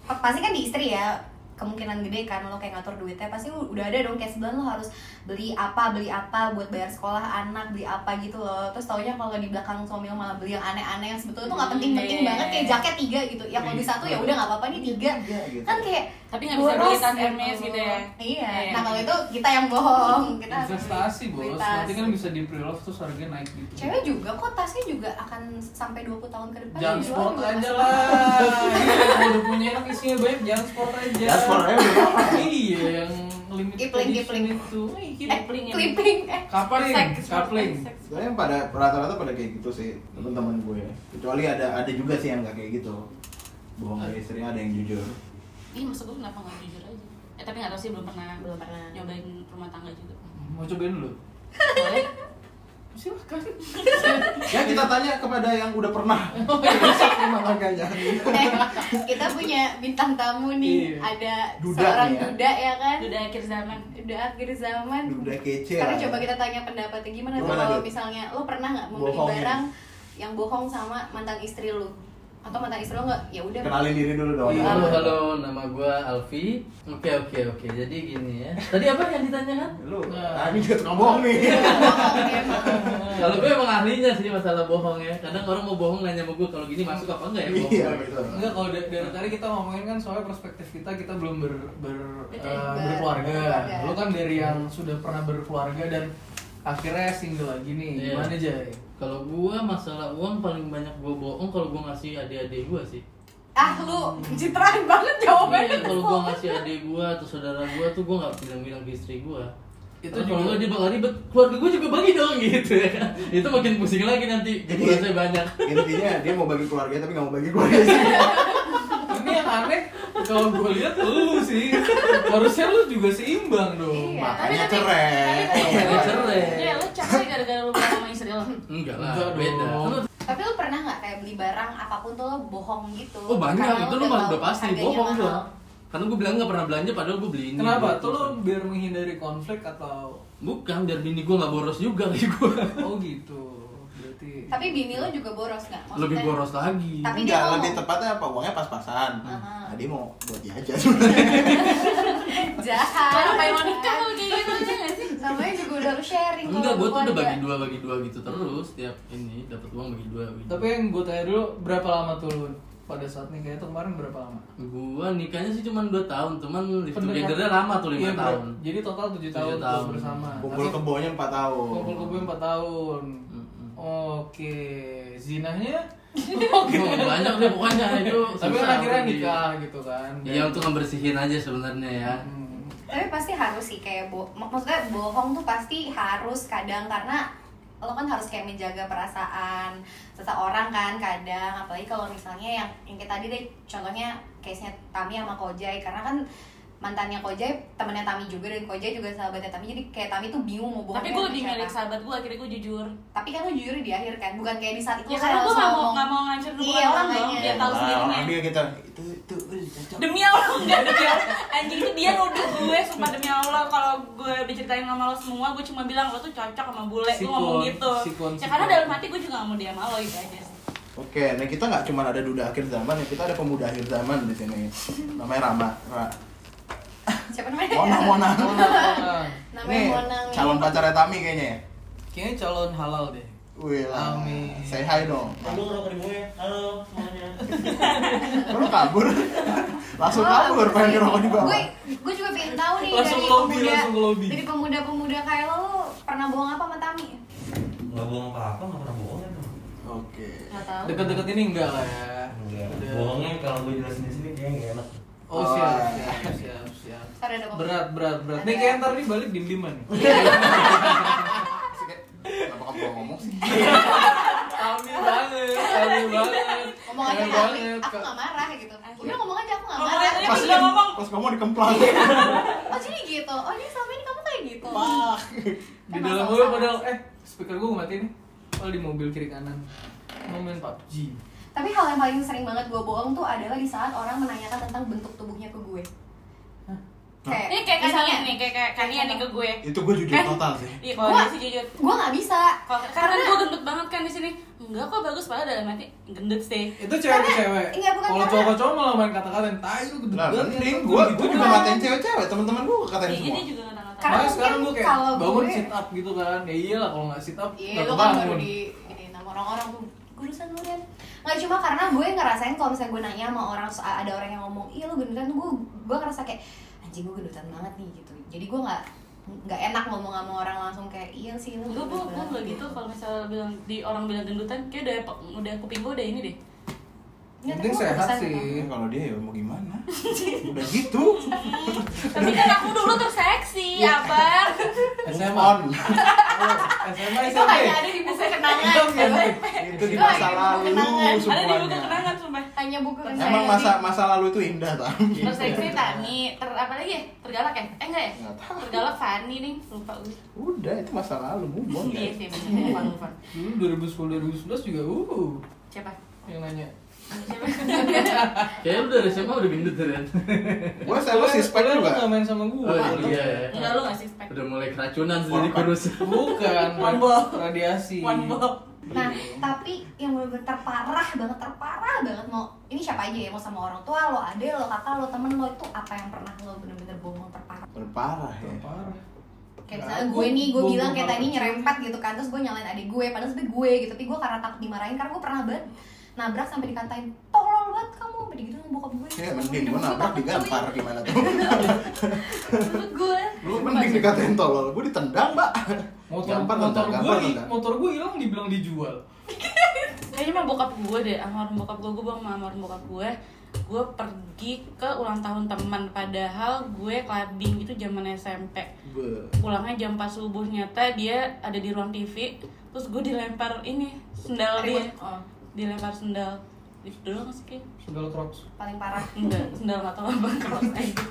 Speaker 1: pa- pasti kan di istri ya kemungkinan gede kan lo kayak ngatur duitnya pasti u- udah ada dong kayak sebulan lo harus beli apa beli apa buat bayar sekolah anak beli apa gitu loh terus taunya kalau di belakang suami lo malah beli yang aneh-aneh yang sebetulnya tuh nggak penting-penting
Speaker 3: Hmm,
Speaker 1: banget kayak
Speaker 3: iya.
Speaker 1: jaket tiga gitu yang lebih satu ya udah nggak apa-apa nih tiga
Speaker 5: Iya, gitu.
Speaker 1: kan kayak
Speaker 3: Tapi nggak bisa
Speaker 1: boros
Speaker 3: beli tas
Speaker 1: gitu.
Speaker 3: Hermes gitu ya.
Speaker 1: iya
Speaker 3: Iya.
Speaker 1: nah kalau itu kita yang bohong kita harus beli-
Speaker 2: investasi
Speaker 1: beli
Speaker 2: bos
Speaker 1: tas.
Speaker 2: nanti kan bisa di pre love terus harganya naik gitu
Speaker 1: cewek juga kok tasnya juga akan sampai 20 tahun ke depan
Speaker 2: jangan
Speaker 1: dijual
Speaker 2: sport
Speaker 1: juga
Speaker 2: aja
Speaker 1: masih-
Speaker 2: lah Ini kalau udah punya anak isinya banyak jangan sport aja
Speaker 5: Jangan sport aja, udah apa?
Speaker 2: iya yang limited
Speaker 1: Kipling,
Speaker 2: edition
Speaker 1: kipling.
Speaker 2: itu
Speaker 3: Wih,
Speaker 1: eh,
Speaker 3: kipling ya.
Speaker 1: clipping eh
Speaker 2: kapling
Speaker 3: Seks,
Speaker 2: kapling
Speaker 3: seks.
Speaker 5: Soalnya pada rata-rata pada kayak gitu sih teman-teman gue kecuali ada ada juga sih yang nggak kayak gitu bohong ke istrinya ada yang jujur
Speaker 3: Ih, maksud gue kenapa nggak jujur aja? Eh tapi nggak tahu sih belum pernah
Speaker 1: Belum pernah.
Speaker 3: nyobain rumah tangga juga.
Speaker 2: mau cobain dulu
Speaker 3: Boleh?
Speaker 2: silahkan
Speaker 5: ya kita tanya kepada yang udah pernah memang agaknya
Speaker 1: Eh, kita punya bintang tamu nih
Speaker 2: Iya.
Speaker 1: ada
Speaker 5: Duda
Speaker 1: seorang
Speaker 5: nih ya.
Speaker 1: duda ya kan
Speaker 3: Udah akhir zaman.
Speaker 1: duda akhir zaman
Speaker 5: udah kece
Speaker 1: sekarang
Speaker 5: lah.
Speaker 1: coba kita tanya pendapatnya gimana tuh
Speaker 5: Gimana, ya?
Speaker 1: kalau
Speaker 5: Dud?
Speaker 1: misalnya lo pernah nggak membeli
Speaker 5: Bohongin.
Speaker 1: barang yang bohong sama mantan istri lo atau mantan istri lo nggak ya udah
Speaker 5: kenalin diri dulu dong
Speaker 4: Iya, Halo, halo, nama gua Alfi. Oke, oke, oke. Jadi gini ya. Tadi apa yang ditanyakan?
Speaker 5: lu
Speaker 4: Nah.
Speaker 5: tadi juga tukang bohong nih
Speaker 1: Iya. bohong emang
Speaker 4: Kalau gue emang ahlinya sih masalah bohong ya. Kadang orang mau bohong nanya sama gue kalau gini masuk apa enggak ya bohong.
Speaker 5: Iya,
Speaker 4: gue?"
Speaker 5: betul.
Speaker 2: Enggak kalau da- dari tadi kita ngomongin kan soal perspektif kita kita belum ber, ber
Speaker 1: Betul,
Speaker 2: eh,
Speaker 1: ber-
Speaker 2: berkeluarga.
Speaker 1: berkeluarga.
Speaker 2: Lu kan dari yang sudah pernah berkeluarga dan akhirnya single lagi nih.
Speaker 4: Iya.
Speaker 2: Gimana Jay?
Speaker 4: Kalau gua masalah uang paling banyak gua bohong kalau gua ngasih adik-adik gua sih.
Speaker 3: ah lu citraan banget
Speaker 4: Iya,
Speaker 2: Oh,
Speaker 3: jawabannya
Speaker 4: kalau gua ngasih adik gua atau saudara gua tuh gua nggak bilang-bilang ke istri gua.
Speaker 2: Itu
Speaker 4: Itu kalau
Speaker 2: juga-
Speaker 4: nggak dia bakal ribet, keluarga gua juga bagi dong gitu ya. kan. Itu makin pusing lagi nanti.
Speaker 5: Jadi-
Speaker 4: Jadi saya banyak.
Speaker 5: intinya dia mau bagi keluarga tapi nggak mau bagi keluarga sih
Speaker 2: Ini yang aneh kalau gue lihat lu sih. Harusnya lu juga seimbang dong.
Speaker 1: Iya.
Speaker 5: makanya
Speaker 3: tapi-
Speaker 5: cerai Iya,
Speaker 4: Makanya cerai.
Speaker 3: ya lu capek gara-gara lu bilang sama istri lu
Speaker 4: Enggak lah,
Speaker 2: Enggak dong.
Speaker 4: beda. Kan
Speaker 1: tapi lo pernah nggak kayak beli barang apapun tuh lo bohong gitu
Speaker 4: Oh banyak,
Speaker 1: Karena
Speaker 4: itu lu mah udah
Speaker 1: tahu
Speaker 4: pasti
Speaker 1: harganya
Speaker 4: bohong
Speaker 1: mahal.
Speaker 4: gua. Karena gue bilang gak pernah belanja padahal gue beli ini
Speaker 2: Kenapa?
Speaker 4: gitu.
Speaker 2: Tuh lu biar menghindari konflik atau
Speaker 4: Bukan, biar bini gue gak boros juga kayak gue
Speaker 2: oh gitu. Berarti
Speaker 1: tapi bini lo juga boros nggak Maksudnya-
Speaker 4: Lebih boros lagi
Speaker 1: Tapi dia
Speaker 5: Enggak,
Speaker 1: ngomong.
Speaker 5: lebih tepatnya apa uangnya pas-pasan.
Speaker 1: Aha.
Speaker 5: Nah, dia mau buat jajan sebenarnya.
Speaker 1: jahat
Speaker 3: baru pengen mau nikah lu kayak gitu aja nggak sih
Speaker 1: namanya juga udah lo sharing
Speaker 4: Enggak,
Speaker 1: kan kalau
Speaker 4: gue tuh udah
Speaker 1: keluarga.
Speaker 4: bagi dua, bagi dua gitu terus Tiap ini, dapat uang bagi dua bagi
Speaker 2: tapi yang gue tanya dulu berapa lama tuh lu pada saat nikah itu kemarin berapa lama?
Speaker 4: Gue nikahnya sih cuma 2 tahun, cuman live
Speaker 2: Pendekatan-
Speaker 4: together lama tuh 5
Speaker 2: Iya, ber-
Speaker 4: tahun
Speaker 2: Jadi total 7
Speaker 4: Tujuh
Speaker 2: tahun, tuh
Speaker 4: tahun.
Speaker 2: bersama.
Speaker 5: Kumpul
Speaker 2: Tapi
Speaker 5: kebonya 4 tahun.
Speaker 2: kumpul kebo 4 tahun.
Speaker 4: Mm-mm.
Speaker 2: Oke, zinahnya
Speaker 4: Oh, Banyak deh pokoknya itu
Speaker 2: tapi kan
Speaker 4: susah
Speaker 2: akhirnya
Speaker 4: untuk di-
Speaker 2: nikah gitu kan. Dan-
Speaker 4: Iya untuk ngebersihin aja sebenarnya ya
Speaker 2: Hmm.
Speaker 1: tapi pasti harus sih kayak bo mak- maksudnya bohong tuh pasti harus kadang karena lo kan harus kayak menjaga perasaan seseorang kan kadang apalagi kalau misalnya yang yang kayak tadi deh contohnya case nya Tami sama Kojai karena kan mantannya Kojai temennya Tami juga dan Kojai juga sahabatnya Tami jadi kayak Tami tuh bingung mau bohong
Speaker 3: tapi gue
Speaker 1: sama
Speaker 3: lebih
Speaker 1: siapa.
Speaker 3: milik sahabat gue akhirnya gue jujur
Speaker 1: tapi kan lo jujur di akhir kan bukan kayak di saat itu
Speaker 3: ya
Speaker 1: lo
Speaker 3: karena
Speaker 1: harus
Speaker 3: gue nggak mau
Speaker 1: ngomong.
Speaker 3: nggak mau ngancur hubungan
Speaker 1: Iya,
Speaker 3: orang dong
Speaker 1: makanya.
Speaker 3: dia tahu
Speaker 5: Nah,
Speaker 3: sendiri
Speaker 5: orang
Speaker 3: nih.
Speaker 5: ambil kita itu itu eh, cocok.
Speaker 3: demi Allah enggak demi Allah. anjing itu dia nuduh gue sumpah demi Allah kalau gue diceritain sama lo semua gue cuma bilang lo tuh cocok sama bule gue
Speaker 2: Sikon,
Speaker 3: ngomong gitu
Speaker 2: sikon,
Speaker 3: ya karena
Speaker 2: sikon.
Speaker 3: dalam hati gue juga gak mau dia sama lo itu aja sih
Speaker 5: Oke, nah kita nggak cuma ada duda akhir zaman, ya kita ada pemuda akhir zaman di sini. Namanya Rama. Ra.
Speaker 1: siapa namanya
Speaker 5: Mona, Mona.
Speaker 2: Nah,
Speaker 1: namanya
Speaker 5: Nih,
Speaker 1: Monang
Speaker 5: calon pacarnya Tami kayaknya ya.
Speaker 2: kayaknya calon halal deh.
Speaker 5: Wih, lah.
Speaker 2: Amin.
Speaker 5: Say hi dong.
Speaker 6: Halo, rokok di gue. Halo, semuanya.
Speaker 5: Kok lu kabur?
Speaker 1: Oh,
Speaker 5: Langsung kabur, pengen ngerokok di bawah.
Speaker 1: Gue gue juga pengen tahu nih
Speaker 2: Langsung
Speaker 1: dari
Speaker 2: ke lobby,
Speaker 1: pemuda
Speaker 2: langsung ke lobby.
Speaker 1: dari pemuda-pemuda kayak lo, lo pernah bohong apa sama Tami?
Speaker 6: Nggak bohong apa-apa, nggak pernah bohong kan?
Speaker 5: Oke.
Speaker 1: Gak tahu.
Speaker 2: Dekat-dekat ini enggak lah ya.
Speaker 6: Enggak.
Speaker 2: Udah.
Speaker 6: Bohongnya kalau gue jelasin di sini kayaknya nggak enak.
Speaker 2: Oh,
Speaker 5: Oh,
Speaker 2: siap,
Speaker 5: iya.
Speaker 2: siap, siap, siap.
Speaker 1: Ntar ada bohong.
Speaker 2: Berat, berat, berat. Nih kayak ntar nih balik kan? dim-diman.
Speaker 1: Iya.
Speaker 5: Kenapa kamu mau ngomong sih?
Speaker 2: Amin banget, amin banget.
Speaker 1: Iya. Ngomong aja
Speaker 2: Amin
Speaker 1: kali, aku
Speaker 2: Kak. Oh,
Speaker 1: gak marah gitu.
Speaker 3: Asli.
Speaker 1: Udah ngomong aja aku gak
Speaker 3: Ngomong
Speaker 1: marah.
Speaker 3: aja.
Speaker 5: Pas
Speaker 3: Pas dia ngomong.
Speaker 5: pas kamu dikemplang.
Speaker 1: Oh jadi gitu. Oh jadi selama ini kamu kayak gitu.
Speaker 5: Pak.
Speaker 2: di dalam mobil padahal eh speaker gue mati nih padahal di mobil kiri kanan mau main PUBG
Speaker 1: Tapi hal yang paling sering banget gue bohong tuh adalah di saat orang menanyakan tentang bentuk tubuhnya ke gue. Kayak,
Speaker 3: ini kayak
Speaker 1: misalnya,
Speaker 3: kania nih kayak kayak kania nih ke gue
Speaker 5: Itu gue jujur
Speaker 3: Eh.
Speaker 5: total Iya, sih.
Speaker 3: iya kalau
Speaker 1: Gua,
Speaker 3: dia sih jujur
Speaker 1: gue gak bisa.
Speaker 3: Kalau- karena gue gendut banget kan di sini enggak kok bagus padahal dalam hati gendut sih
Speaker 2: itu cewek ke
Speaker 1: Karena-
Speaker 2: cewek
Speaker 1: iya, bukan
Speaker 2: kalau
Speaker 1: karena-
Speaker 2: cowok-cowok malah main kata-kata yang tai lu gede
Speaker 5: Nah,
Speaker 2: banget
Speaker 5: mending
Speaker 2: Lu
Speaker 5: gue gue
Speaker 2: gitu
Speaker 5: juga
Speaker 2: kan.
Speaker 5: matain cewek-cewek teman-teman gue katain
Speaker 3: Iya,
Speaker 5: semua.
Speaker 3: dia juga nggak
Speaker 1: Karena
Speaker 2: Makanya sekarang gue
Speaker 1: mungkin
Speaker 2: kayak
Speaker 1: kalau
Speaker 2: bangun
Speaker 1: gue-
Speaker 2: sit up gitu kan ya iyalah kalau nggak sit up
Speaker 1: Iya,
Speaker 2: nggak
Speaker 1: lo kan
Speaker 2: kebangun
Speaker 1: baru di ini nama orang-orang tuh gurusan lu kan. Nggak cuma karena gue ngerasain kalau misalnya gue nanya sama orang so- ada orang yang ngomong, "Iya, lu gendutan." Tuh gue gue ngerasa kayak anjing gue gendutan banget nih gitu. Jadi gue nggak nggak enak ngomong sama orang langsung kayak iya sih lu
Speaker 3: gue gue
Speaker 1: gendut
Speaker 3: gue
Speaker 1: banget."
Speaker 3: nggak gitu kalau misalnya bilang di orang bilang gendutan kayak udah udah kuping gue udah ini deh
Speaker 1: Nggak, tapi
Speaker 2: penting
Speaker 1: gue
Speaker 2: sehat
Speaker 1: gurusan
Speaker 2: sih
Speaker 5: Ya,
Speaker 3: kan.
Speaker 5: kalau dia ya mau gimana? Udah gitu.
Speaker 3: tapi kan aku dulu tuh seksi
Speaker 5: Iya.
Speaker 3: apa
Speaker 5: Move
Speaker 2: SMA
Speaker 5: on.
Speaker 2: Oh, SMA
Speaker 1: Itu
Speaker 2: SMP
Speaker 1: hanya ada iya, di buku
Speaker 2: Iya,
Speaker 1: kenangan.
Speaker 5: itu di masa
Speaker 1: Itu
Speaker 5: lalu
Speaker 1: kenangan. Ada di
Speaker 3: ada di buku
Speaker 5: semuanya. Iya.
Speaker 3: kenangan sumpah
Speaker 1: hanya buku kenangan.
Speaker 5: Emang masa masa lalu itu indah tam.
Speaker 3: terseksi Tani ter apa lagi ya tergalak ya eh enggak ya
Speaker 5: Nggak tahu.
Speaker 3: tergalak Fani nih lupa gue
Speaker 5: Udah itu masa lalu move on.
Speaker 3: iya
Speaker 5: guys.
Speaker 3: sih bener lupa lupa
Speaker 2: dulu 2010 2011 juga uh
Speaker 3: siapa
Speaker 2: yang nanya
Speaker 3: siapa
Speaker 4: Kayaknya udah dari SMA udah gendut ya
Speaker 5: Gue selalu suspek
Speaker 2: Padahal lu nggak
Speaker 5: juga.
Speaker 2: main sama gue
Speaker 4: Oh iya ya
Speaker 3: enggak lu nggak sih spek
Speaker 4: Udah mulai keracunan sih jadi kurus
Speaker 2: bukan
Speaker 3: One ball.
Speaker 2: radiasi
Speaker 3: one bob
Speaker 1: Nah, tapi yang benar-benar terparah banget terparah susah banget mau ini siapa aja ya mau sama orang tua lo, ade lo, kakak lo, temen lo itu apa yang pernah lo bener-bener bohong perparah.
Speaker 5: Berparah ya.
Speaker 2: Parah.
Speaker 1: Kayak
Speaker 5: Nah,
Speaker 1: misalnya
Speaker 2: aku
Speaker 1: gue nih, gue
Speaker 2: bohong
Speaker 1: bilang kayak
Speaker 2: perparah.
Speaker 1: tadi nyerempet gitu kan, terus gue nyalain adik gue, padahal sebenernya gue gitu, tapi gue karena takut dimarahin karena gue pernah banget nabrak sampai dikantain tolol banget kamu, sampai gitu sama bokap gue.
Speaker 5: Ya mending gue nabrak
Speaker 1: Takut,
Speaker 5: digampar
Speaker 1: cuy.
Speaker 5: gimana tuh.
Speaker 1: Menurut gue.
Speaker 5: Lu mending dikatain tolol, gue ditendang, Mbak.
Speaker 2: Motor
Speaker 5: Gampar,
Speaker 2: motor
Speaker 5: gampar,
Speaker 2: gue
Speaker 5: gampar.
Speaker 2: motor gue hilang dibilang dijual.
Speaker 3: kayaknya mah bokap gue deh almarhum bokap gue gue bawa sama almarhum bokap gue gue pergi ke ulang tahun teman padahal gue clubbing itu zaman SMP
Speaker 5: Be-
Speaker 3: pulangnya jam 4 subuh nyata dia ada di ruang TV terus gue dilempar ini sendal dia
Speaker 1: Ribut. Oh,
Speaker 3: dilempar sendal itu doang sih kayaknya.
Speaker 2: Sendal Crocs.
Speaker 1: paling parah.
Speaker 3: enggak sendal nggak tahu apa cross aja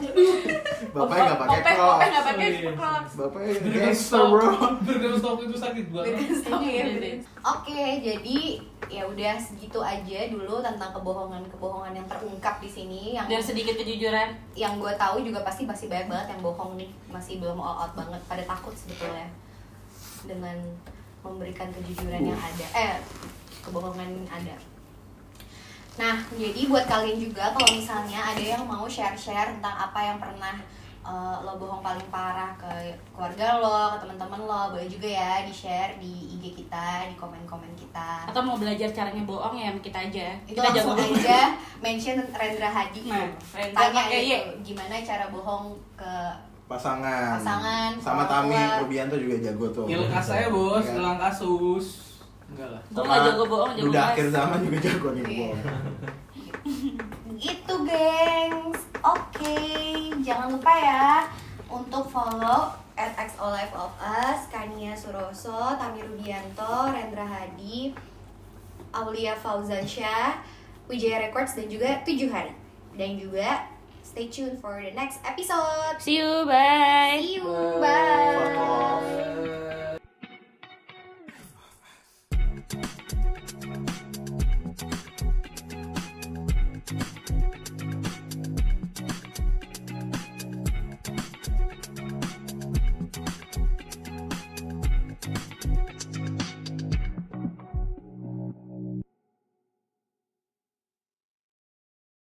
Speaker 5: Bapaknya nggak pakai
Speaker 3: Opek-
Speaker 5: cross.
Speaker 3: opek nggak pakai
Speaker 2: Sorry, sorry.
Speaker 3: cross
Speaker 5: Bapaknya
Speaker 2: Berikan
Speaker 5: gangster,
Speaker 2: stop.
Speaker 5: bro.
Speaker 2: Berikan stop itu sakit banget.
Speaker 1: Stop ya,
Speaker 3: Iya,
Speaker 1: Brin.
Speaker 3: Brin.
Speaker 1: Oke, jadi ya udah segitu aja dulu tentang kebohongan-kebohongan yang terungkap di sini yang
Speaker 3: dan sedikit kejujuran
Speaker 1: yang gue tahu juga pasti masih banyak banget yang bohong nih masih belum all out banget pada takut sebetulnya dengan memberikan kejujuran yang ada eh kebohongan yang ada nah jadi buat kalian juga kalau misalnya ada yang mau share share tentang apa yang pernah eh, lo bohong paling parah ke keluarga lo ke teman-teman lo boleh juga ya di share di IG kita di komen-komen kita
Speaker 3: atau mau belajar caranya bohong ya sama kita aja
Speaker 1: itu
Speaker 3: kita
Speaker 1: langsung
Speaker 3: bohong.
Speaker 1: aja mention Rendra Hadi
Speaker 3: Nah, Rendra
Speaker 1: tanya
Speaker 3: pakai
Speaker 1: gitu,
Speaker 3: Y.
Speaker 1: gimana cara bohong ke
Speaker 5: Pasangan.
Speaker 1: Pasangan,
Speaker 5: Sama
Speaker 1: orang
Speaker 5: Tami
Speaker 1: tua.
Speaker 5: Rubianto juga jago tuh.
Speaker 2: Ilkas saya bos, hilang kasus. Enggak lah.
Speaker 3: Gua nggak jago bohong, jago
Speaker 5: Udah
Speaker 3: keras.
Speaker 5: akhir zaman juga jago nih
Speaker 1: Iya.
Speaker 5: bohong.
Speaker 1: gitu gengs oke jangan lupa ya untuk follow at XOLife of Us, Kania Suroso, Tami Rudianto, Rendra Hadi, Aulia Fauzansyah, Wijaya Records dan juga 7 hari. Dan juga stay tuned for the next episode.
Speaker 3: see you bye
Speaker 1: See you.
Speaker 2: Bye.
Speaker 1: Bye.
Speaker 5: Fuck off.
Speaker 2: Eh,